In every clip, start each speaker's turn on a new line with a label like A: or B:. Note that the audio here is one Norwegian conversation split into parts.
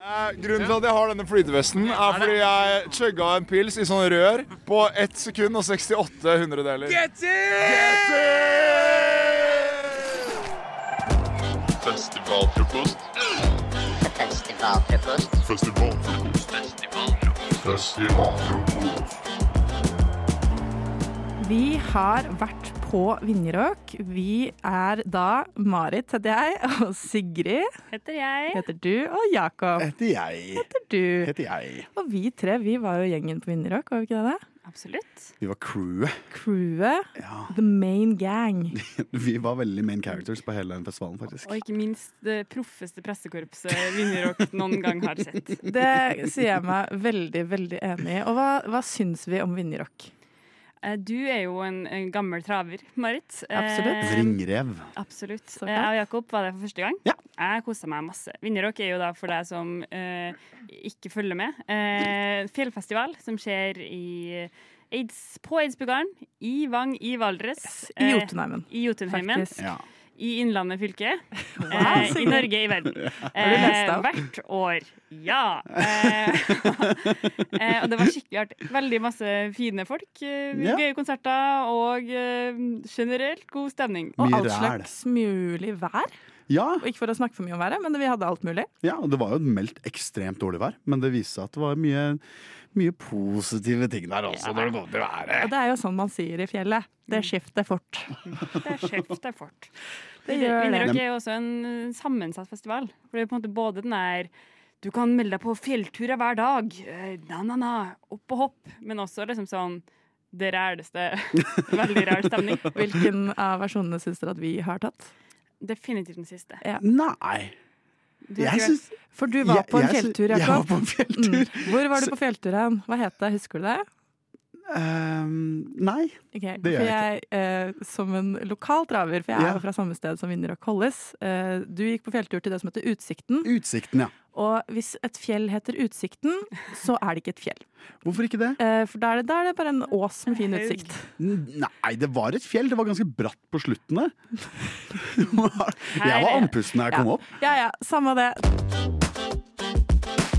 A: Eh, Grunnen til at jeg har denne flytevesten, er fordi jeg chugga en pils i sånn rør på 1 sekund og 68 hundredeler. Get it!
B: Festivalfrokost.
C: Festivalfrokost.
B: Festivalfrokost. Festivalfrokost.
D: Vi har vært på Vinjeråk. Vi er da Marit heter jeg, og Sigrid
E: Heter jeg.
D: heter du, og Jakob
F: Heter jeg.
D: heter du.
F: Heter jeg.
D: Og vi tre vi var jo gjengen på Vinjeråk, var vi ikke det? da?
E: Absolutt.
F: Vi var crewet.
D: Crewet,
F: Ja.
D: the main gang.
F: Vi var veldig main characters på hele den festivalen, faktisk.
E: Og ikke minst det proffeste pressekorpset Vinjerock noen gang har sett.
D: Det sier jeg meg veldig, veldig enig i. Og hva, hva syns vi om Vinjeråk?
E: Eh, Du er jo en, en gammel traver, Marit. Eh,
D: Absolutt.
F: Ringrev.
E: Absolutt.
D: Så
E: Eh, Jeg og Jakob var der for første gang.
F: Ja.
E: Jeg kosa meg masse. Vinjerock er jo da for deg som eh, ikke følger med. Eh, fjellfestival som skjer i Aids, på Eidsbugaren, i Vang i Valres. eh,
D: I Jotunheimen,
E: I Jotunheimen.
D: faktisk.
F: Ja.
E: I Innlandet fylke.
D: Wow,
E: Eh, I
D: Sigrid.
E: Norge, i verden.
D: du
E: Eh,
D: lest det opp?
E: hvert år. Ja. Eh, eh, og det var skikkelig artig. Veldig masse fine folk. Eh,
F: Ja.
E: Gøye konserter og eh, generelt god stemning.
D: Og
F: Mye
D: alt
F: ræl.
D: slags mulig vær.
F: Ja,
D: Og ikke for å snakke for mye om været, men vi hadde alt mulig.
F: ja, og det var jo meldt ekstremt dårlig vær, men det viste seg at det var mye, mye positive ting der også. når det kom til været.
D: Og det er jo sånn man sier i fjellet. Det skifter fort.
E: Det er skjevt, det er fort.
D: Det gjør det.
E: Vinnerøk er jo også en eh, sammensatt festival. For det er på en måte både den der du kan melde deg på fjellturer hver dag, eh, na, na, na, opp og hopp, men også liksom sånn det ræleste. Veldig ræl stemning.
D: Hvilken av versjonene syns dere at vi har tatt?
E: Definitivt den siste.
F: Nei,
E: Du har
F: jeg
E: ikke
F: syns
D: For du var på en
F: jeg- jeg syns-
D: fjelltur,
F: Jeg var
D: Jakob.
F: på en fjelltur.
D: Mm. Hvor var du på fjelltur hen? Hva het det, husker du det? Mm.
F: Ehm, nei.
D: Ok,
F: Det gjør
D: for
F: jeg
D: jeg, eh, som en lokal traver, for jeg
F: Ja.
D: er jo fra samme sted som Vinner og Kolles, eh, du gikk på fjelltur til det som heter Utsikten.
F: Utsikten, ja.
D: Og hvis et fjell heter Utsikten, så er det ikke et fjell.
F: Hvorfor ikke det?
D: Eh, for da er, det, da er det bare en ås med fin utsikt.
F: Nei, det var et fjell. Det var ganske bratt på slutten der. Det var- Jeg var andpusten da jeg kom opp.
D: Ja ja, samme det.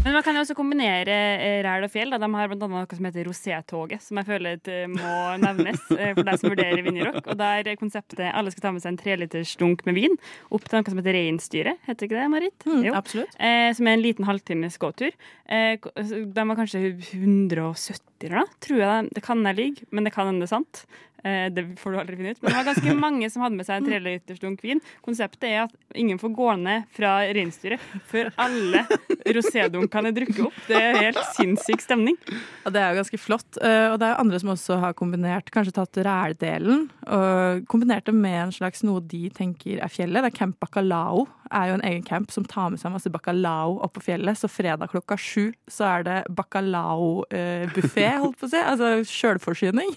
E: Men man kan jo også kombinere eh, ræl og fjell. Da. De har blant annet noe som heter Rosé-toget, som jeg føler at, eh, må nevnes eh, for deg som vurderer Vinjerock. Og der er konseptet alle skal ta med seg en treliters dunk med vin opp til noe som heter Reinsdyret. Heter ikke det, Marit?
D: Mm,
E: Jo.
D: absolutt.
E: Eh, som er en liten halvtimes gåtur. Eh, ko- altså, de var kanskje 170 eller noe, tror jeg. Det, det kan jeg ligge, men det kan hende det er sant. Eh, det får du aldri finne ut. Men det var ganske mange som hadde med seg en treliters dunk vin. Konseptet er at ingen får gå ned fra reinsdyret før alle rosédunkene er drukket opp. Det er helt sinnssyk stemning.
D: Og det er jo ganske flott. eh, Og det er jo andre som også har kombinert, kanskje tatt rældelen, og kombinert det med en slags noe de tenker er fjellet. Det er Camp Bacalao. er jo en egen camp som tar med seg masse bacalao opp på fjellet. Så fredag klokka sju så er det bacalao-buffé, holdt på å si. Altså sjølforsyning.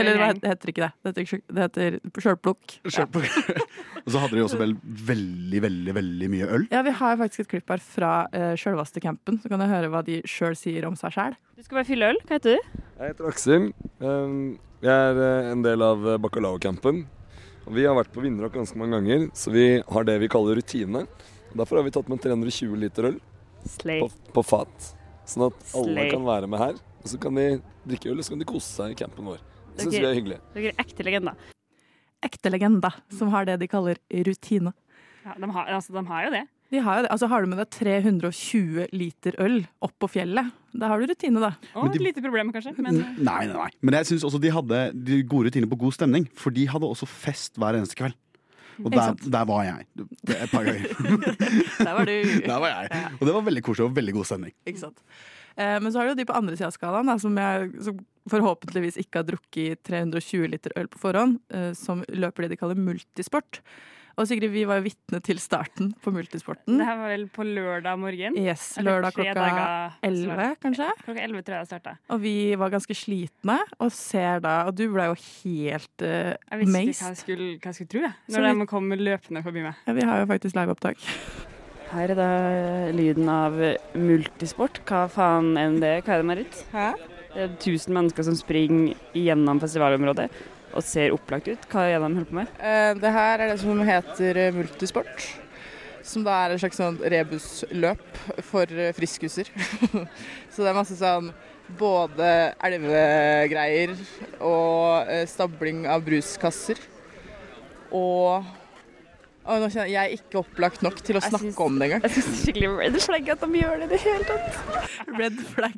D: Eller hva het- heter ikke det? Det heter, ikke- det heter sjølplukk.
F: Kjør på. Og så hadde de også vel veldig, veldig, veldig mye øl.
D: Ja, vi har faktisk et klipp her fra uh, sjølvaste campen, så kan du høre hva de sjøl sier om seg sjæl.
E: Du skal bare fylle øl. Hva heter du?
G: Jeg heter Aksel. Um, Jeg er eh, en del av eh, Bacalao-campen. Og Vi har vært på Vinderok ganske mange ganger, så vi har det vi kaller rutine. Og Derfor har vi tatt med 320 liter øl
E: Slay.
G: på, på fat, sånn at alle
E: Slay.
G: kan være med her. Og Så kan de drikke øl, og så kan de kose seg i campen vår. Det syns
E: Ok.
G: vi er hyggelig.
E: Dere er ekte legender.
D: Ekte legenda, som har det de kaller rutine.
E: Ja, de, har, altså, de har jo det.
D: De har, jo det. altså, har du med deg 320 liter øl opp på fjellet, da har du rutine, da.
E: Og
F: de- Mm.
E: et lite problem, kanskje. Men
F: Nei, nei, nei. Men jeg syns også de hadde de gode rutiner på god stemning, for de hadde også fest hver eneste kveld. Og der,
D: Ikke
F: der var jeg. Det, et par ganger.
D: Der var du.
F: Der var jeg. Og det var veldig koselig og veldig god stemning.
D: Ikke sant. Eh, men så har du jo de på andre sida av skalaen, da, som, jeg, som forhåpentligvis ikke har drukket 320 liter øl på forhånd, eh, som løper det de kaller multisport. Og Sigrid, vi var jo vitne til starten på multisporten.
E: det her var vel på lørdag morgen.
D: Yes,
E: Eller
D: lørdag
E: tre
D: klokka
E: dager
D: elleve, kanskje.
E: Klokka 11 tror jeg det starta.
D: Og vi var ganske slitne, og ser da Og du ble jo helt eh,
E: Jeg visste ikke hva
D: amazed.
E: jeg skulle, hva jeg skulle tro, jeg.
D: Så
E: Når de kom løpende forbi meg.
D: Ja, vi har jo faktisk liveopptak.
E: Her er da lyden av multisport. Hva faen enn det? Hva er det, Marit? Hæ? Det er tusen mennesker som springer gjennom festivalområdet og ser opplagt ut. Hva er det de holder på med?
H: Eh, Det her er det som heter eh, multisport.
B: Som da er et slags sånn rebusløp for eh, friskuser. så det er masse sånn både elvegreier og eh, stabling av bruskasser. Og Å, nå kjenner jeg jeg er ikke opplagt nok til å
C: Jeg
B: snakke
C: syns-
B: om det engang.
C: Jeg syns det er skikkelig red flag at de gjør det i det hele tatt.
D: Red flag.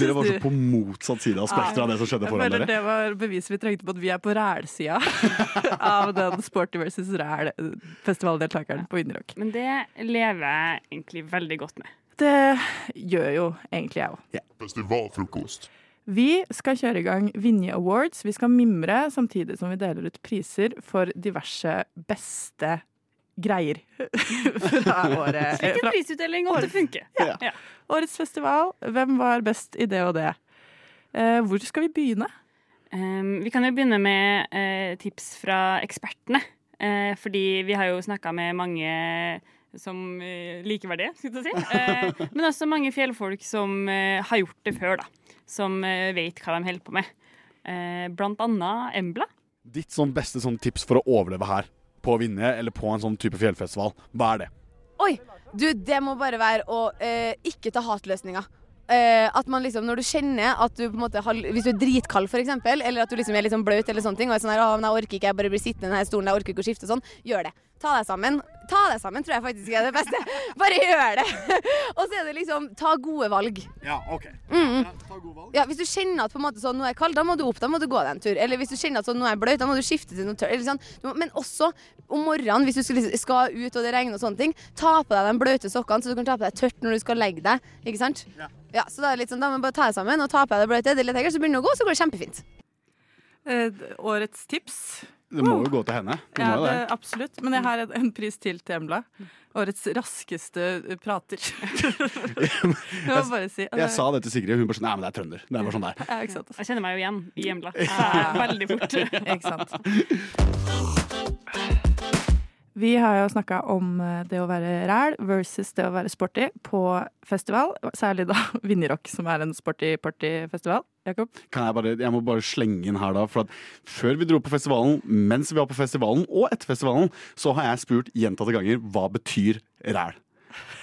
F: Dere var så
D: du-
F: på motsatt side av spekteret av det som skjedde
D: Jeg
F: foran
D: føler
F: dere.
D: det var beviset vi trengte på at vi er på rælsida av den sporty versus ræl-festivaldeltakeren på Vinderrock.
E: Men det lever jeg egentlig veldig godt med.
D: Det gjør jo egentlig jeg òg.
H: Festivalfrokost.
D: Vi skal kjøre i gang Vinje Awards. Vi skal mimre samtidig som vi deler ut priser for diverse beste greier fra året. eh,
E: Slik en
D: Fra
E: prisutdeling ofte funker. Ja. Ja.
D: årets festival. Hvem var best i det og det? Eh, hvor skal vi begynne?
E: Ehm, vi kan jo begynne med eh, tips fra ekspertene. Eh, fordi vi har jo snakka med mange som uh, likeverdige, skulle jeg til å si. Eh, men også mange fjellfolk som eh, har gjort det før, da. Som eh, vet hva de holder på med. Eh, blant annet Embla.
F: Ditt sånn beste sånn tips for å overleve her, på Vinje eller på en sånn type fjellfestival, hva er det?
I: Du, det må bare være å eh, ikke ta hatløsninger. Eh, at man liksom, Når du kjenner at du på en måte har, Hvis du er dritkald, f.eks., eller at du liksom er litt sånn blaut eller sånne ting, og er sånn her, «Å, men 'Jeg orker ikke, jeg bare blir sittende i denne stolen, jeg orker ikke å skifte' og sånn, gjør det. Ta deg sammen. Ta deg sammen tror jeg faktisk er det beste. Bare gjør det. og så er det liksom Ta gode valg.
F: Ja, OK.
I: Mm.
F: ta god valg.
I: Ja, hvis du kjenner at på en måte sånn, nå er jeg kald, da må du opp, da må du gå deg en tur. Eller hvis du kjenner at sånn, nå er jeg bløt, da må du skifte til noe tørt. eller Sånn. Du må- Men også om morgenen, hvis du skal, liksom, skal ut og det regner og sånne ting, ta på deg de bløte sokkene, så du kan ta på deg tørt når du skal legge deg. Ikke sant?
F: Ja.
I: så da er det litt sånn, da må du bare ta deg sammen og ta på deg det bløte, det litt ekkelt, så begynner du å gå, så går det kjempefint.
D: Eh, årets tips?
F: Det må jo gå til henne. Det
D: Ja,
F: må jo
D: det,
F: det.
D: absolutt. Men jeg har en, en pris til til Embla. Årets raskeste eh, prater. Jeg må bare si
F: Jeg sa det til Sigrid, og hun bare sånn Nei, men det er trønder. Det er bare sånn der.
D: ja, ikke sant.
E: Jeg kjenner meg jo igjen i Embla. Ja. Veldig fort.
D: Ikke sant. Vi har jo snakka om eh, det å være ræl versus det å være sporty på festival. Særlig da Vinjerock, som er en sporty-party-festival. Jakob?
F: Kan jeg, bare, jeg må bare slenge inn her, da. For at før vi dro på festivalen, mens vi var på festivalen, og etter festivalen, så har jeg spurt gjentatte ganger hva betyr ræl.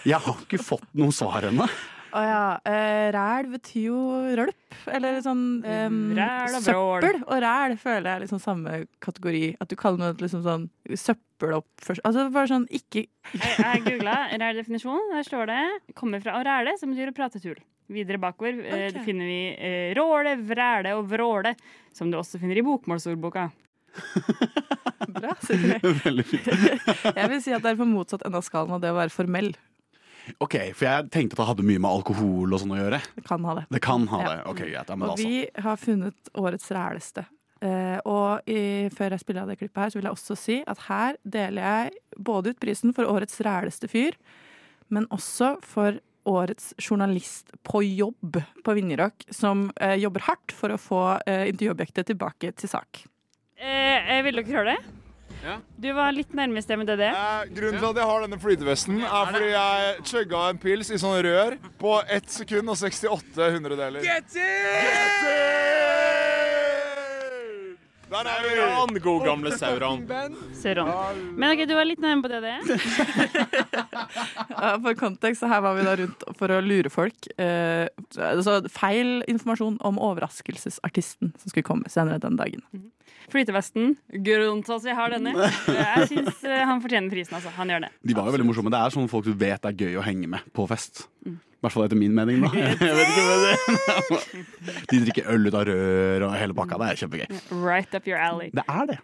F: Jeg har ikke fått noe svar ennå.
D: Å ja. eh, Ræl betyr jo rølp. Eller sånn eh,
E: Ræl og vrål.
D: Søppel og ræl føler jeg er liksom samme kategori. At du kaller noe liksom sånn søppeloppførsel Altså bare sånn ikke
E: Jeg, jeg googla ræl definisjon. Der står det 'kommer fra å ræle', som betyr å prate tull. Videre bakover eh,
D: Ok.
E: finner vi eh, råle, vræle og vråle, som du også finner i bokmålsordboka.
D: bra. Silje.
F: Veldig fint.
D: Jeg vil si at det er på motsatt ende av skalaen av det å være formell.
F: Ok, for jeg tenkte at det hadde mye med alkohol og sånn å gjøre.
D: Det kan ha det.
F: Det kan ha
D: Ja.
F: det. Ok, greit. Ja, men
D: Og
F: altså.
D: vi har funnet årets ræleste. Eh, og i, før jeg spiller av det klippet her, så vil jeg også si at her deler jeg både ut prisen for årets ræleste fyr, men også for årets journalist på jobb på Vinjerock, som eh, jobber hardt for å få eh, intervjuobjektet tilbake til sak.
E: Eh, vil dere høre det?
A: Ja.
E: Du var litt nærmest det med DDE.
A: Eh, grunnen til at jeg har denne flytevesten, er fordi jeg chugga en pils i sånn rør på 1 sekund og 68 hundredeler. Get in! Der er vi!
H: Han god gamle Sauron.
E: Søren. Men ok, du var litt nærme på DDE.
D: Ja, for kontekst, så her var vi da rundt for å lure folk. Eh, altså feil informasjon om overraskelsesartisten som skulle komme senere den dagen.
E: Flytevesten. Grunnen til at vi har denne. Eh, Jeg syns eh, han fortjener prisen, altså. Han gjør det.
F: De var jo veldig morsomme. Det er sånne folk du vet er gøy å henge med på fest. I hvert fall etter min mening, da. Jeg vet ikke hva det er. De drikker øl ut av rør og hele pakka. Det er kjempegøy.
E: Right up your alley.
F: Det er det.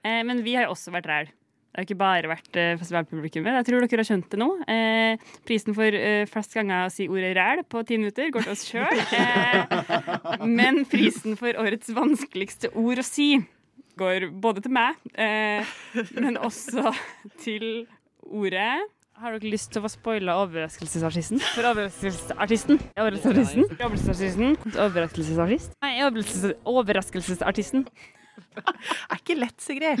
E: Eh, men vi har jo også vært ræl. Det har jo ikke bare vært eh, festivalpublikummet. Jeg tror dere har skjønt det nå. Eh, prisen for eh, flest ganger å si ordet ræl på ti minutter går til oss sjøl. Eh, men prisen for årets vanskeligste ord å si går både til meg, eh, men også til ordet har dere lyst til å få spoila overraskelsesartisten? For overraskelsesartisten. Overraskelsesartisten. Overraskelsesartisten. Overraskelsesartist. Nei, overraskelses- overraskelsesartisten.
D: Er ikke lett, Sigrid.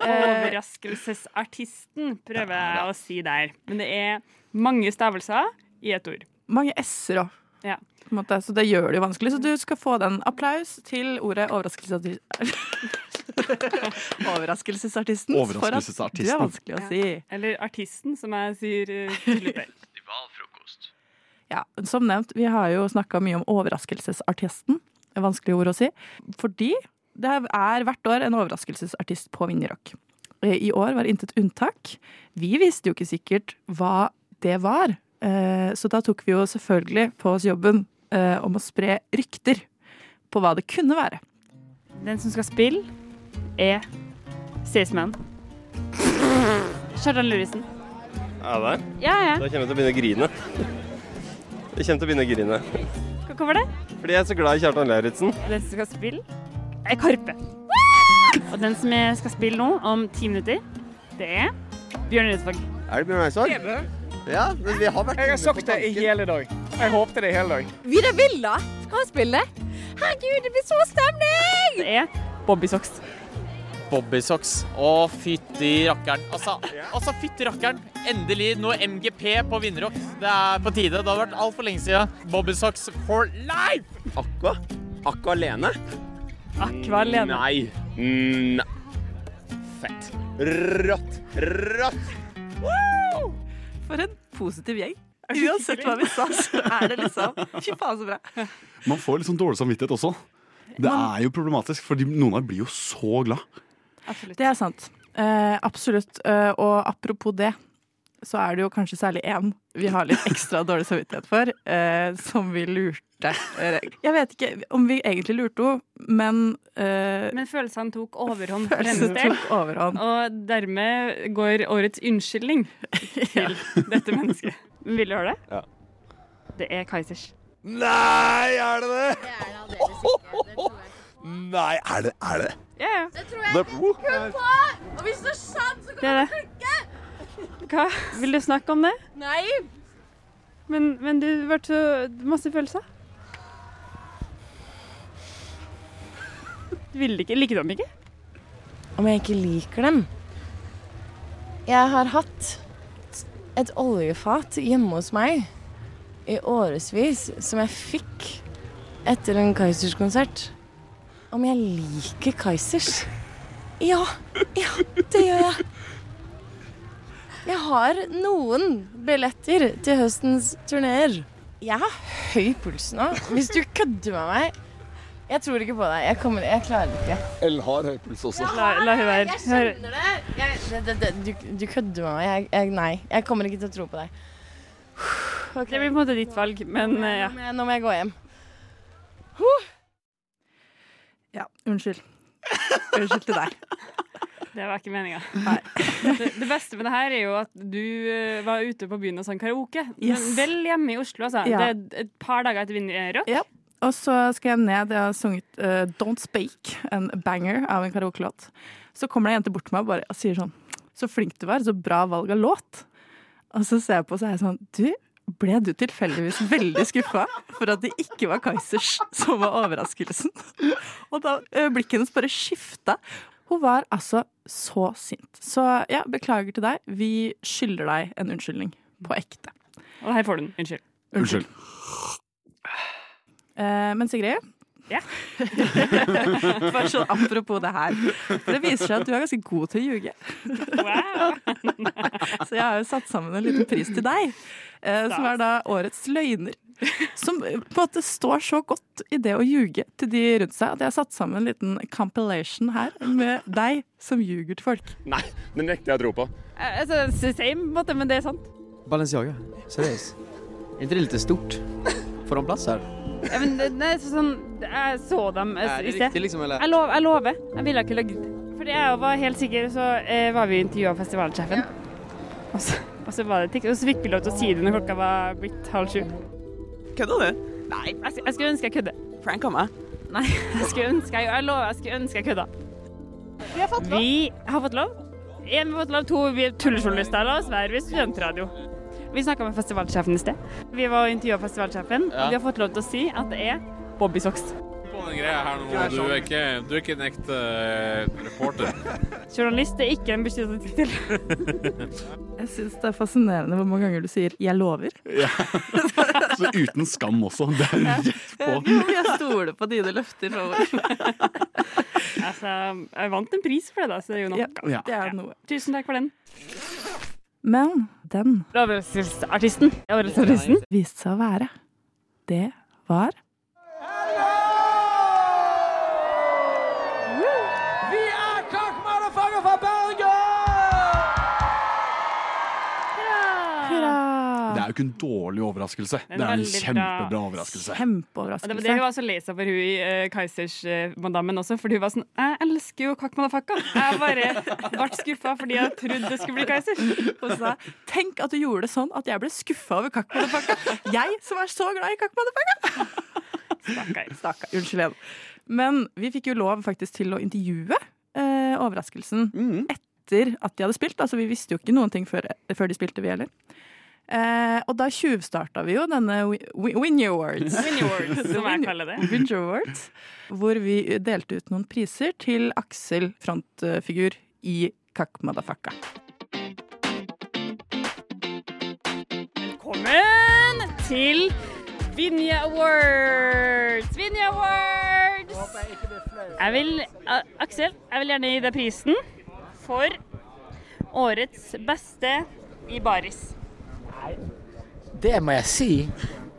E: Eh, Overraskelsesartisten, prøver jeg å si der. Men det er mange stavelser i ett ord.
D: mange s-er òg.
E: Ja.
D: På en måte, Så det gjør det jo vanskelig. Så du skal få den. Applaus til ordet overraskelse. Overraskelsesartisten.
F: Overraskelsesartisten.
D: For at du er vanskelig å si.
E: Eller artisten, som jeg sier eh, tidligere.
D: Ja, som nevnt, vi har jo snakka mye om overraskelsesartisten. Det er Vanskelig ord å si. Fordi det er hvert år en overraskelsesartist på Vinjerock. Eh, I år var intet unntak. Vi visste jo ikke sikkert hva det var. Eh, Så da tok vi jo selvfølgelig på oss jobben eh, om å spre rykter på hva det kunne være.
E: Den som skal spille, er Staysman. Kjartan Lauritzen.
J: Er det der?
E: Ja, ja.
J: Da kommer jeg til å begynne å grine. Jeg kommer til å begynne å grine.
E: Hva var det?
J: Fordi jeg er så glad i Kjartan Lauritzen.
E: Den som skal spille, er Karpe. Og den som jeg skal spille nå, om ti minutter, det er Bjørn Eidsvåg.
J: Er det Bjørn Eidsvåg? Ja, men vi har vært Jeg har sagt det i hele
K: Vidar Villa skal han spille. Herregud, det blir så stemning!
E: Det er Bobby Socks.
A: Bobbysocks. Å, fytti rakkeren. Altså, altså fytti rakkeren. Endelig noe MGP på Vinderrock. Det er på tide. Det har vært altfor lenge siden. Bobbysocks for life!
J: Aqua? Aqua alene?
E: Aqua alene.
J: Nei. Nei. Fett. Rått. Rått.
D: For en positiv gjeng. Uansett hva vi sa, så er det liksom Fy faen, så bra.
F: Man får litt sånn dårlig samvittighet også. Det er jo problematisk, for noen av dem blir jo så glad.
E: Absolutt.
D: Det er sant. Eh, absolutt. Eh, og apropos det, så er det jo kanskje særlig én vi har litt ekstra dårlig samvittighet for, eh, som vi lurte. Eh, Jeg vet ikke om vi egentlig lurte henne, men, eh,
E: Men følelsene tok overhånd for hennes
D: følelsen
E: del.
D: tok overhånd.
E: Og dermed går årets unnskyldning til dette mennesket. Vil du høre det?
L: Ja.
E: Det er Kaizers.
L: Nei, er det det? Nei, er det er det?
E: Ja, ja.
K: Det tror jeg
L: det oh.
K: på! Og hvis det er sant, så
E: Det er det. Hva? Vil du snakke om det?
K: Nei!
E: Men, men du ble så masse følelser. Du ville ikke, likte dem ikke?
K: Om jeg ikke liker dem? Jeg har hatt et oljefat hjemme hos meg i årevis som jeg fikk etter en Kaizers-konsert. Om jeg liker Kaizers? Ja. Ja, det gjør jeg. Jeg har noen billetter til høstens turneer. Jeg har høy puls nå. Hvis du kødder med meg Jeg tror ikke på deg. Jeg, kommer, jeg klarer det ikke.
L: Ellen har høy puls også.
E: La, la hun være. Hør.
K: det. Jeg, det, det, det. Du, du kødder med meg. Jeg, jeg, nei, jeg kommer ikke til å tro på deg. Ok.
E: Det blir på en måte ditt valg, men eh, ja.
K: Nå må jeg- Nå må jeg gå hjem.
D: Ja, unnskyld. Unnskyld til deg.
E: Det var ikke meninga. Det, det beste med det her er jo at du eh, var ute på byen og sang karaoke.
D: Yes.
E: Men vel hjemme i Oslo, altså.
D: Ja.
E: Det er et par dager etter Vinjerock.
D: Og så skal jeg ned. Jeg har sunget eh, Don't Speak, en banger av en karaokelåt. Så kommer det ei jente bort til meg og bare og sier sånn Så flink du var. Så bra valg av låt. Og så ser jeg på, så er jeg sånn Du, ble du tilfeldigvis veldig skuffa for at det ikke var Kaizers som var overraskelsen? Og da eh, blikket hennes bare skifta. Hun var altså så sint. Så ja, beklager til deg. Vi skylder deg en unnskyldning. På ekte.
E: Og her får du den. Unnskyld.
F: Unnskyld.
D: Eh, men Sigrid?
E: Ja.
D: Bare sånn apropos det her. For det viser seg at du er ganske god til å ljuge.
E: Wow.
D: Så jeg har jo satt sammen en liten pris til deg, eh, som er da Årets løgner. Som eh, på en måte står så godt i det å ljuge til de rundt seg, at jeg har satt sammen en liten compilation her med deg som ljuger til folk.
J: Nei, den nekter jeg å tro på.
E: Eh, Altså, same, på en måte, men det er sant.
A: Balenciaga. Seriøst. Er ikke det litt stort? Får han plass her?
E: Ja, men det, det er sånn, jeg så dem eh, i sted.
A: liksom, eller?
E: Jeg, lov, jeg lover. Jeg ville ikke løyet. Fordi jeg var helt sikker, så eh, var vi intervjua av festivalsjefen. Og, så, og så var det tikk, og så fikk vi lov til å si det når klokka var blitt halv sju.
A: Kødder du?
E: Nei, jeg, sk- jeg skulle ønske jeg kødde.
A: Pranka meg?
E: Nei, jeg skulle ønske jeg, jeg lover, jeg skulle ønske jeg kødda.
A: Vi har fått
E: Vi har fått lov. Én har fått lov, to vi er tullejournalister. La oss være ved studentradio. Vi snakka med festivalsjefen i sted. Vi var og intervjua festivalsjefen,
A: Ja.
E: og vi har fått lov til å si at det er Bobbysocks.
A: på den greia her nå. Du er ikke, du er ikke en ekte eh, reporter.
E: Journalist er ikke en beskytta tittel.
D: Jeg syns det er fascinerende hvor mange ganger du sier 'jeg lover'.
F: Så uten skam også. Det er rett på.
D: Jeg stoler på dine løfter framover.
E: Altså, jeg vant en pris for det, da, så det er jo noe.
D: Ja, det er noe.
E: Tusen takk for den.
D: Men den
E: Overraskelsesartisten. Overraskelsesartisten.
D: viste seg å være Det var
K: Vi er Cock Motherfucker fra Bergen!
F: Det er jo ikke en dårlig overraskelse.
E: er
F: Det er en
E: veldig
F: kjempebra
E: bra.
F: overraskelse.
E: Og det var det hun var så lei seg for, hun i eh, Kaizers-madammen også. For hun var sånn Jeg elsker jo Kakk Madafakka. Jeg bare ble skuffa fordi jeg trodde det skulle bli Kaizers.
D: Og så sa jeg, Tenk at du gjorde det sånn at jeg ble skuffa over kakkmadepakka. Jeg som er så glad i kakkmadepakka! Stakkar. Stakkar. Unnskyld igjen. Men vi fikk jo lov faktisk til å intervjue eh, overraskelsen
E: Mm.
D: etter at de hadde spilt. Altså Vi visste jo ikke noen ting før, før de spilte, vi heller. Eh, og da tjuvstarta vi jo denne Wi- Wi- Winnie Awards.
E: Winnie Awards, som jeg kaller det.
D: Winnie Awards, Hvor vi delte ut noen priser til Aksel, frontfigur i Kakk Madafakka.
E: Velkommen til Vinje Awards! Vinje Awards! Jeg vil, A- Aksel, jeg vil gjerne gi deg prisen for årets beste i baris.
K: Det må jeg si.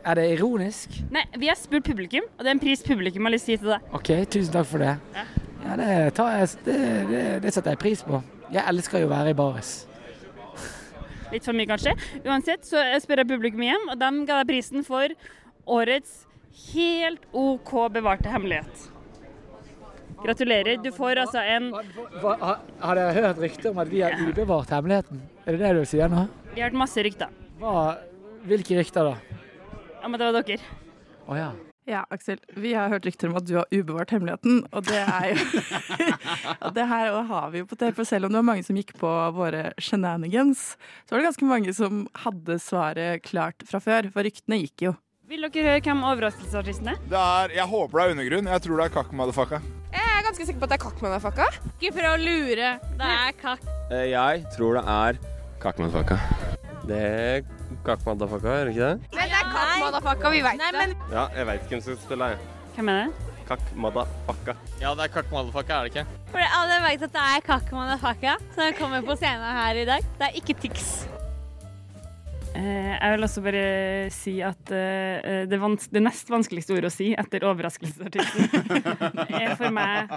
K: Er det ironisk?
E: Nei, vi har spurt publikum, og det er en pris publikum har lyst til å gi til deg.
K: OK, tusen takk for det. Ja, det, tar jeg, det, det, det setter jeg pris på. Jeg elsker jo å være i baris.
E: Litt for mye, kanskje. Uansett så jeg spør jeg publikum igjen, og de ga deg prisen for årets helt OK bevarte hemmelighet. Gratulerer. Du får altså en
K: Hva, har, har dere hørt rykter om at vi har ubevart hemmeligheten? Er det det du sier nå?
E: Vi har hørt masse rykter.
K: Hva, hvilke rykter da?
E: Ja, men det var dere.
K: Å ja.
D: Ja, Aksel. Vi har hørt rykter om at du har ubevart hemmeligheten, og det er jo Og det her også har vi jo på TV, for selv om det var mange som gikk på våre shenanigans, så var det ganske mange som hadde svaret klart fra før, for ryktene gikk jo.
E: Vil dere høre hvem overraskelsesartisten er?
A: Det er, jeg håper det er undergrunn. Jeg tror det er kakk, motherfucka.
I: Jeg er ganske sikker på at det er kakk motherfucka. Ikke for å lure. Det er kakk.
J: Eh, Jeg tror det er Kakmadfaka. Det er Kakmadfaka, er det ikke det?
I: Men det er kakk motherfucka, vi veit det.
J: Ja, jeg veit hvem som spiller.
E: Hvem er det?
J: Kakmadfaka.
M: Ja, det er kakk motherfucka, er det ikke?
N: For alle vet at det er Kakk Manafaka som kommer på scenen her i dag. Det er ikke Tix.
E: Eh, Jeg vil også bare si at eh, det, vans det nest vanskeligste ordet å si etter overraskelsesartisten er for meg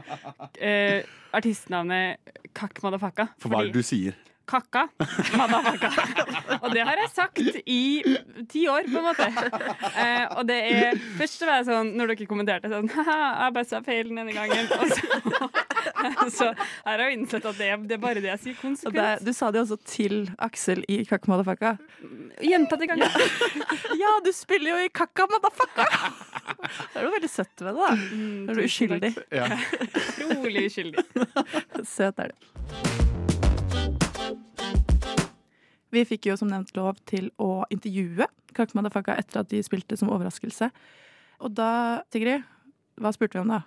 E: eh, artistnavnet Kakk Madafaka.
F: For hva er det du sier?
E: Kakka Madafaka. Og det har jeg sagt i ti år, på en måte. Eh, og det er Først så var jeg sånn, når dere kommenterte, sånn Haha, jeg bare sa feil den ene gangen. Og så, så her har jeg jo innsett at det, er- det er bare det jeg sier
D: Og det,
E: konsekvent.
D: du sa det jo også til Aksel i Kakk Madafakka.
E: Gjentatte ganger.
D: Ja, du spiller jo i Kakka Madafakka! Det er noe veldig søtt ved det, da. Det er du uskyldig.
E: Mm, Utrolig uskyldig.
D: Søt er du. Vi fikk jo som nevnt lov til å intervjue Kakk Madafaka etter at de spilte som overraskelse. Og da, Sigrid, hva spurte vi om da?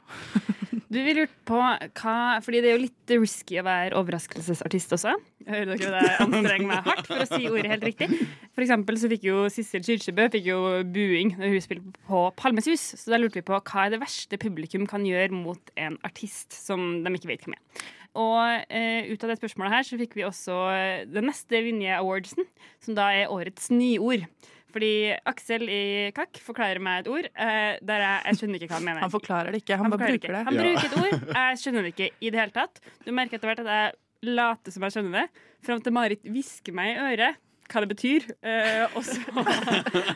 E: Du, vi lurte på hva Fordi det er jo litt risky å være overraskelsesartist også. Hører dere det? Jeg Anstrenger meg hardt for å si ordet helt riktig. For eksempel så fikk jo Sissel Kyrkjebø fikk jo buing når hun spilte på Palmes hus. Så da lurte vi på hva er det verste publikum kan gjøre mot en artist som de ikke vet hvem er. Og eh, ut av det spørsmålet her så fikk vi også eh, den neste Vinje Awardsen, som da er årets nyord. Fordi Aksel i Kakk forklarer meg et ord eh, der jeg, jeg skjønner ikke hva han mener.
D: Han forklarer det ikke, han, bare
E: forklarer
D: bruker det.
E: Han bruker et ord. Jeg skjønner det ikke i det hele tatt. Du merker etter hvert at jeg later som jeg skjønner det, fram til Marit hvisker meg i øret hva det betyr. Eh, og så-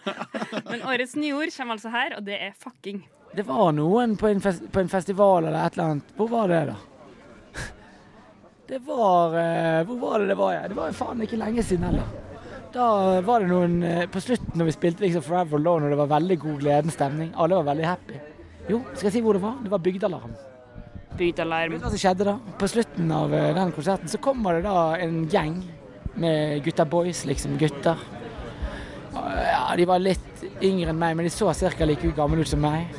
E: Men årets nyord kommer altså her, og det er fucking.
K: Det var noen på en, fes på en festival eller et eller annet. Hvor var det, da? Det var eh, Hvor var det det var, jeg? Det var jo faen ikke lenge siden heller. Da var det noen eh, På slutten når vi spilte liksom Forever Alone, og det var veldig god gledens stemning. Alle var veldig happy. Jo, skal jeg si hvor det var? Det var Bygdealarm.
E: Bygdalarm.
K: Vet du hva som skjedde da? På slutten av eh, den konserten så kommer det da en gjeng med gutta boys, liksom gutter. Og, Ja, de var litt yngre enn meg, men de så cirka like gamle ut som meg.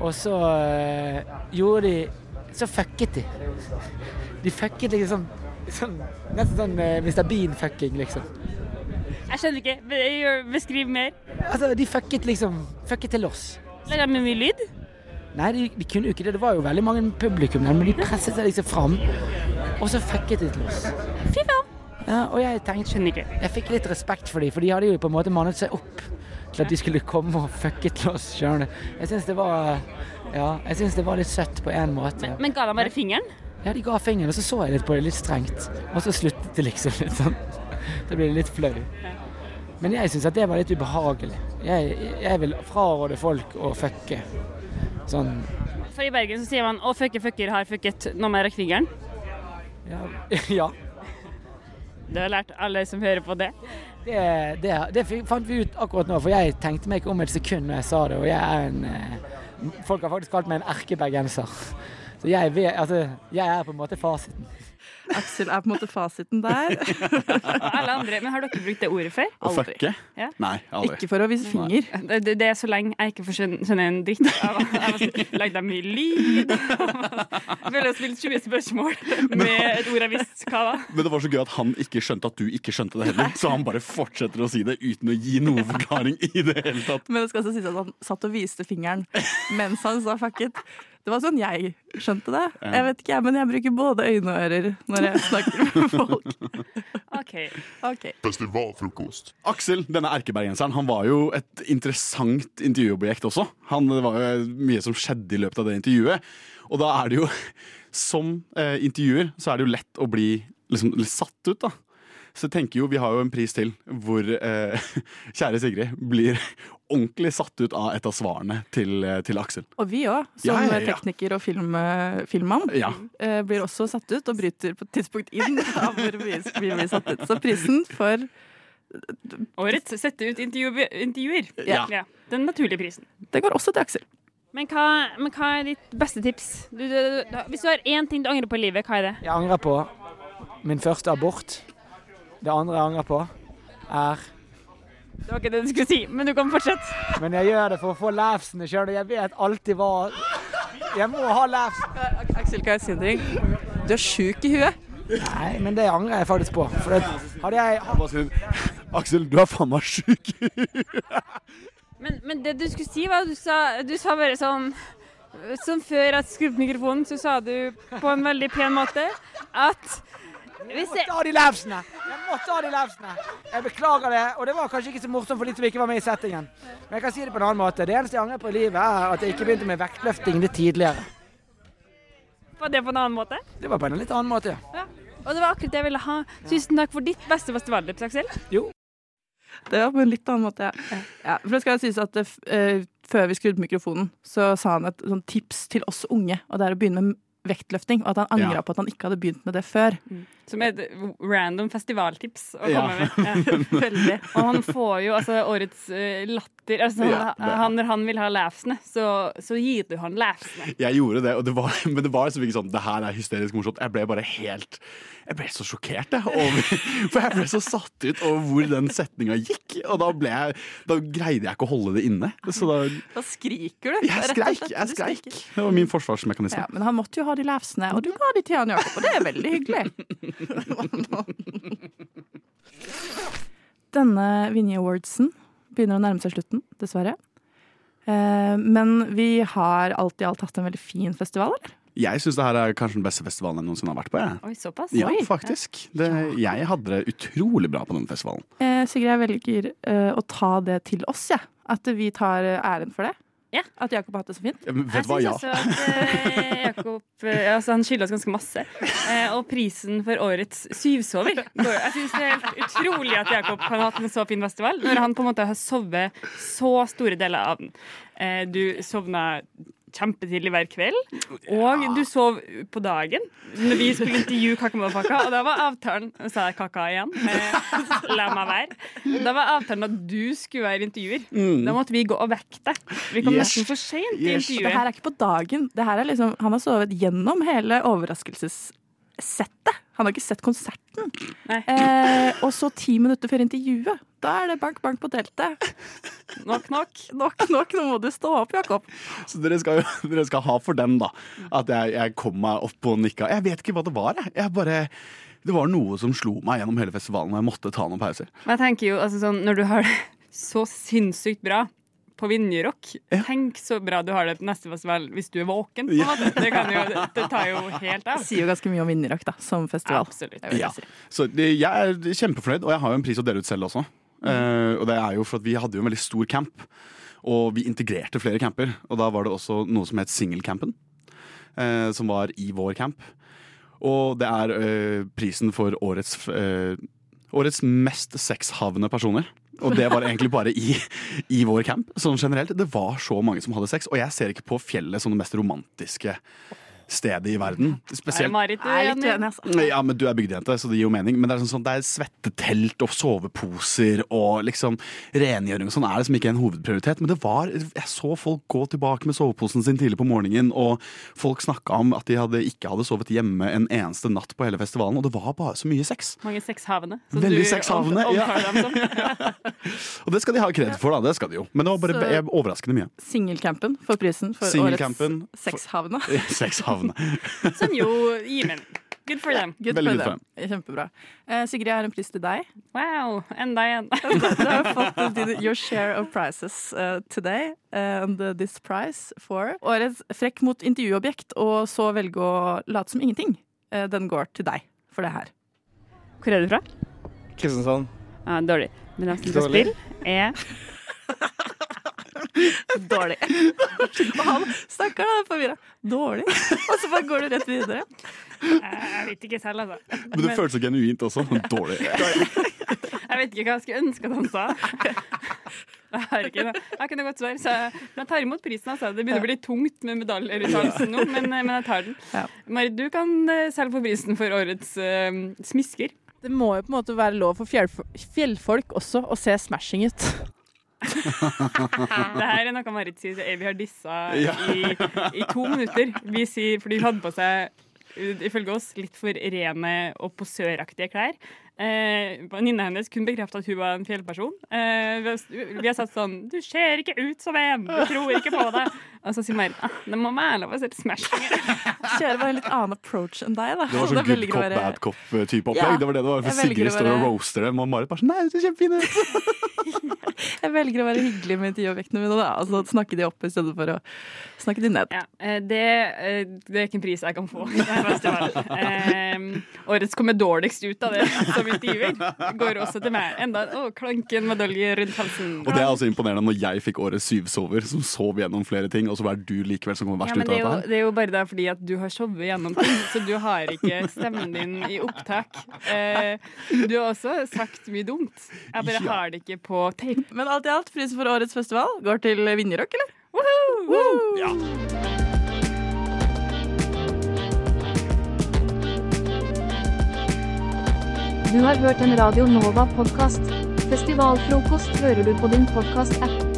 K: Og så eh, gjorde de Så fucket de. sånn, De fucket liksom sånn, Nesten sånn eh, Mr. Bean-fucking, liksom.
E: Jeg skjønner ikke. Be- gjør- Beskriv mer.
K: Altså, de fucket liksom Fucket til oss.
E: Lagde de mye lyd?
K: Nei, de, de kunne jo ikke det. Det var jo veldig mange publikum der, men de presset seg liksom fram. Og så fucket de til oss.
E: Fy faen.
K: Ja, og jeg tenkte
E: Skjønner ikke.
K: Jeg fikk litt respekt for dem, for de hadde jo på en måte mannet seg opp til at de skulle komme og fucke til oss. Skjønner du? Jeg syns det var Ja, jeg synes det var litt søtt på en måte.
E: Men ga de bare fingeren?
K: Ja, de ga fingeren, og så så jeg litt på det litt strengt. Og så sluttet det liksom litt sånn. Da ble det litt flau. Men jeg syns at det var litt ubehagelig. Jeg, jeg vil fraråde folk å fucke. Sånn
E: For i Bergen så sier man 'å, fucker, fucker, har fucket'. Nå må jeg rekke fingeren.
K: Ja.
E: Det har lært alle som hører på det.
K: Det, det, det fi- fant vi ut akkurat nå, for jeg tenkte meg ikke om et sekund når jeg sa det. Og jeg er en eh, Folk har faktisk kalt meg en erkebergenser. Så jeg, vet, altså, jeg er på en måte fasiten.
D: Aksel er på en måte fasiten der.
E: Alle andre, men Har dere brukt det ordet før?
D: Å Aldri. fucke?
E: Ja.
F: Nei, aldri.
D: Ikke for å vise finger.
E: Det, det- det er så lenge jeg ikke får skjønne, skjønne en dritt av av- av- Lagde jeg mye lyd? Jeg Føler jeg har spilt 20 spørsmål med et ord jeg visste hva var.
F: Men det var så gøy at han ikke skjønte at du ikke skjønte det heller. Så han bare fortsetter å si det uten å gi noen forklaring i det hele tatt.
D: Men det skal også sies at han satt og viste fingeren mens han sa fuck it. Det var sånn jeg skjønte det.
F: Ja.
D: Jeg vet ikke, jeg, men jeg bruker både øyne og ører når jeg snakker med folk.
E: OK.
F: Festivalfrokost. Aksel, denne erkebergenseren, han var jo et interessant intervjuobjekt også. Han, det var jo mye som skjedde i løpet av det intervjuet. Og da er det jo, som eh, intervjuer, så er det jo lett å bli liksom, litt satt ut, da. Så jeg tenker jo, vi har jo en pris til hvor eh, kjære Sigrid blir ordentlig satt ut av et av svarene til, eh, til Aksel.
D: Og vi òg, som
F: Ja, ja, ja.
D: tekniker og film, filmmann,
F: Ja.
D: eh, blir også satt ut og bryter på et tidspunkt inn av hvor vi vi blir satt ut. Så prisen for
E: Årets sette ut intervju intervjuer.
D: Ja.
E: Den naturlige prisen.
D: Det går også til Aksel.
E: Men hva, men hva er ditt beste tips? Du, du, du, hvis du har én ting du angrer på i livet, hva er det?
K: Jeg angrer på min første abort. Det andre jeg angrer på, er
E: Det var ikke det du skulle si, men du kan fortsette.
K: Men jeg gjør det for å få laughsene sjøl, og jeg vet alltid hva Jeg må ha laughs.
O: Aksel, kan jeg si en ting? Du er sjuk i huet.
K: Nei, men det angrer jeg faktisk på. For det, hadde jeg
F: Bare si, Aksel, du er faen meg sjuk.
E: Men, men det du skulle si, var at du sa, du sa bare sånn Som før at jeg skrudde på mikrofonen, så sa du på en veldig pen måte at
K: Jeg må ta de lapsene! Jeg må ta de lapsene! Jeg beklager det, og det var kanskje ikke så morsomt for de som ikke var med i settingen. Men jeg kan si det på en annen måte. Det eneste jeg angrer på i livet, er at jeg ikke begynte med vektløfting litt tidligere.
E: Var det på en annen måte?
K: Det var på en litt annen måte, ja.
E: Og det var akkurat det jeg ville ha. Tusen takk for ditt beste festivaltips, Aksel.
K: Jo.
D: Det var på en litt annen måte, ja. ja for det skal jo sies at det, f- eh, før vi skrudde på mikrofonen, så sa han et sånn tips til oss unge, og det er å begynne med vektløfting, og at han angra
E: Ja.
D: på at han ikke hadde begynt med det før.
E: Som er et random festivaltips å
D: Ja.
E: komme med. Ja. Veldig. Og han får jo altså årets eh, latter. Altså,
F: Ja, det er-
E: han, når han vil ha laughsene, så, så gir du han laughsene.
F: Jeg gjorde det, og det var, men det var liksom ikke sånn Det her er hysterisk morsomt. Jeg ble bare helt Jeg ble så sjokkert, jeg. Over, for jeg ble så satt ut over hvor den setninga gikk. Og da, ble jeg, da greide jeg ikke å holde det inne. Så da,
D: Da skriker du.
F: Jeg
D: rett og
F: skreik,
D: slett.
F: jeg
D: Du
F: skreik.
D: skriker.
F: det var min forsvarsmekanisme.
D: Ja, men han måtte jo ha de lefsene, og du ga de til han Jakob, og det er veldig hyggelig. Denne Vinje Awardsen begynner å nærme seg slutten, dessverre. Eh, Men vi har alt i alt hatt en veldig fin festival, eller?
F: Jeg syns det her er kanskje den beste festivalen jeg noensinne har vært på. Jeg.
E: Oi, såpass.
F: Ja, faktisk. Det, jeg hadde det utrolig bra på den festivalen.
D: Eh, Sigrid, jeg velger eh, å ta det til oss, jeg. At vi tar eh, æren for det. At Jakob har hatt det så fint.
F: Ja, men vet du hva, ja.
E: Jeg synes også at eh, Jakob eh, altså Han skylder oss ganske masse. Eh, og prisen for årets syvsover. går- Jeg synes det er helt utrolig at Jakob kan ha hatt en så fin festival, når han på en måte har sovet så store deler av den. Eh, du sovna kjempetidlig hver kveld, og du sov på dagen. Når vi skulle intervjue Kakamodapaka, og da var avtalen Nå sa jeg kaka igjen. Eh, la meg være. Da var avtalen at du skulle være intervjuer.
D: Mm.
E: Da måtte vi gå og vekke deg. Vi kom
D: Yes.
E: nesten for sent i
D: Yes.
E: intervjuet.
D: Det her er ikke på dagen. Det her er liksom, han har sovet gjennom hele overraskelsessettet. Han har ikke sett konserten. Eh, og så ti minutter før intervjuet. Da er det bank, bank på teltet.
E: Knock, knock.
D: Knock, knock. Nå må du stå opp, Jakob.
F: Så dere skal, jo- dere skal ha for den, da. At jeg, jeg kom meg opp og nikka. Jeg vet ikke hva det var, jeg. Jeg bare det var noe som slo meg gjennom hele festivalen, og jeg måtte ta noen pauser.
E: Men jeg tenker jo, altså sånn, når du har det så sinnssykt bra på Vinjerock, tenk så bra du har det på neste festival hvis du er våken. På en måte. Det, kan jo, det tar jo helt av.
D: Det sier jo ganske mye om Vinjerock da, som festival.
E: Absolutt.
F: Ja. Så det, jeg er kjempefornøyd, og jeg har jo en pris å dele ut selv også. Eh, og det er jo for at vi hadde jo en veldig stor camp, og vi integrerte flere camper. Og da var det også noe som het singelcampen, eh, som var i vår camp. Og det er eh, prisen for årets, eh, årets mest sexhavende personer. Og det var egentlig bare i, i vår camp. Sånn generelt, Det var så mange som hadde sex, og jeg ser ikke på fjellet som det mest romantiske stedet i verden.
E: Er det
F: Spesielt
E: Marit du
D: Jeg er litt
E: enig?
D: uenig, altså.
F: Nei, Ja, men du er bygdejente, så det gir jo mening. Men det er, sånn, sånn, det er svettetelt og soveposer og liksom rengjøring og sånn er liksom ikke en hovedprioritet. Men det var, jeg så folk gå tilbake med soveposen sin tidlig på morgenen, og folk snakka om at de hadde, ikke hadde sovet hjemme en eneste natt på hele festivalen, og det var bare så mye sex.
E: Mange sexhavende.
F: Veldig sexhavende, ja.
E: ja.
F: Og det skal de ha kred for, da. Det skal de jo. Men det var bare
D: Så-
F: jeg- overraskende mye.
D: Singelcampen får prisen for
F: Singelcampen
D: årets sexhavne.
F: Sexhavne.
E: Som Sånn, jo gir mening. Good for them.
D: Good for them. Kjempebra. Eh, Sigrid, jeg har en pris til deg.
E: Wow, enda en.
D: Du har fått din- your share of prizes eh, today. eh, and the- this prize for årets frekk mot intervjuobjekt, og så velge å late som ingenting. Eh, den går til deg for det her.
E: Hvor er du fra?
P: Kristiansand.
E: Ja, dårlig. Men de som skal
P: Dårlig.
E: spille, er
D: Dårlig. Og han stakkar, da, er forvirra. Dårlig. Og så bare går du rett videre.
E: Jeg vet ikke selv, altså.
F: Men det føltes så genuint også. Dårlig.
E: Jeg vet ikke hva jeg skulle ønske at han sa. Jeg har ikke noe. Jeg kunne godt svar, så jeg, men jeg tar imot prisen. Altså. Det begynner å bli litt tungt med medaljer i halsen nå, men, eh, men jeg tar den. Marit, du kan eh, selv få prisen for årets eh, smisker.
B: Det må jo på en måte være lov for fjellf- fjellfolk også å se smashing ut.
E: Det her er noe Marit sier, så er vi har dissa
B: Ja.
E: i, i to minutter. Vi sier, fordi hun hadde på seg, uh, ifølge oss, litt for rene og posøraktige klær. Eh, Venninna hennes kunne bekrefte at hun var en fjellperson. Eh, vi, har, vi har sagt sånn Du ser ikke ut som en! Du tror ikke på det! Og så sier Marit ah, det må være lov å se smashing.
D: Kjører bare en litt annen approach enn deg, da.
F: Det var
D: Da
F: sånn good
D: velger å
F: cop,
D: være-
F: bad cop-type
D: Ja,
F: opplegg. Det var det det var.
D: jeg
F: For
D: velger å
F: Sigrid står og
D: være-
F: roaster dem, og Marit bare sånn Nei, du ser kjempefin ut!
D: Jeg velger å være hyggelig med intervjuobjektene mine, da. Altså snakke de opp i stedet for å snakke de ned.
E: Ja, eh, det, eh, det er ikke en pris jeg kan få. Det er best jeg har. Eh, årets kommer dårligst ut av det som intervjuer. Går også til meg. Enda å, klanken medalje rundt halsen.
F: Og det er altså imponerende når jeg fikk årets syvsover, som sov gjennom flere ting, og så var det du likevel som kommer
E: ja,
F: verst
E: men
F: ut av
E: det er, jo,
F: dette her.
E: det er jo bare der fordi at du har sovet gjennom ting, så du har ikke stemmen din i opptak. Eh, du har også sagt mye dumt. Jeg bare
D: Ja.
E: har det ikke på tape.
D: Men alt i alt, prisen for årets festival går til Vinjerock, eller?
E: Ja.
Q: Du har hørt en Radio Nova-podkast. Festivalfrokost hører du på din podkast-app.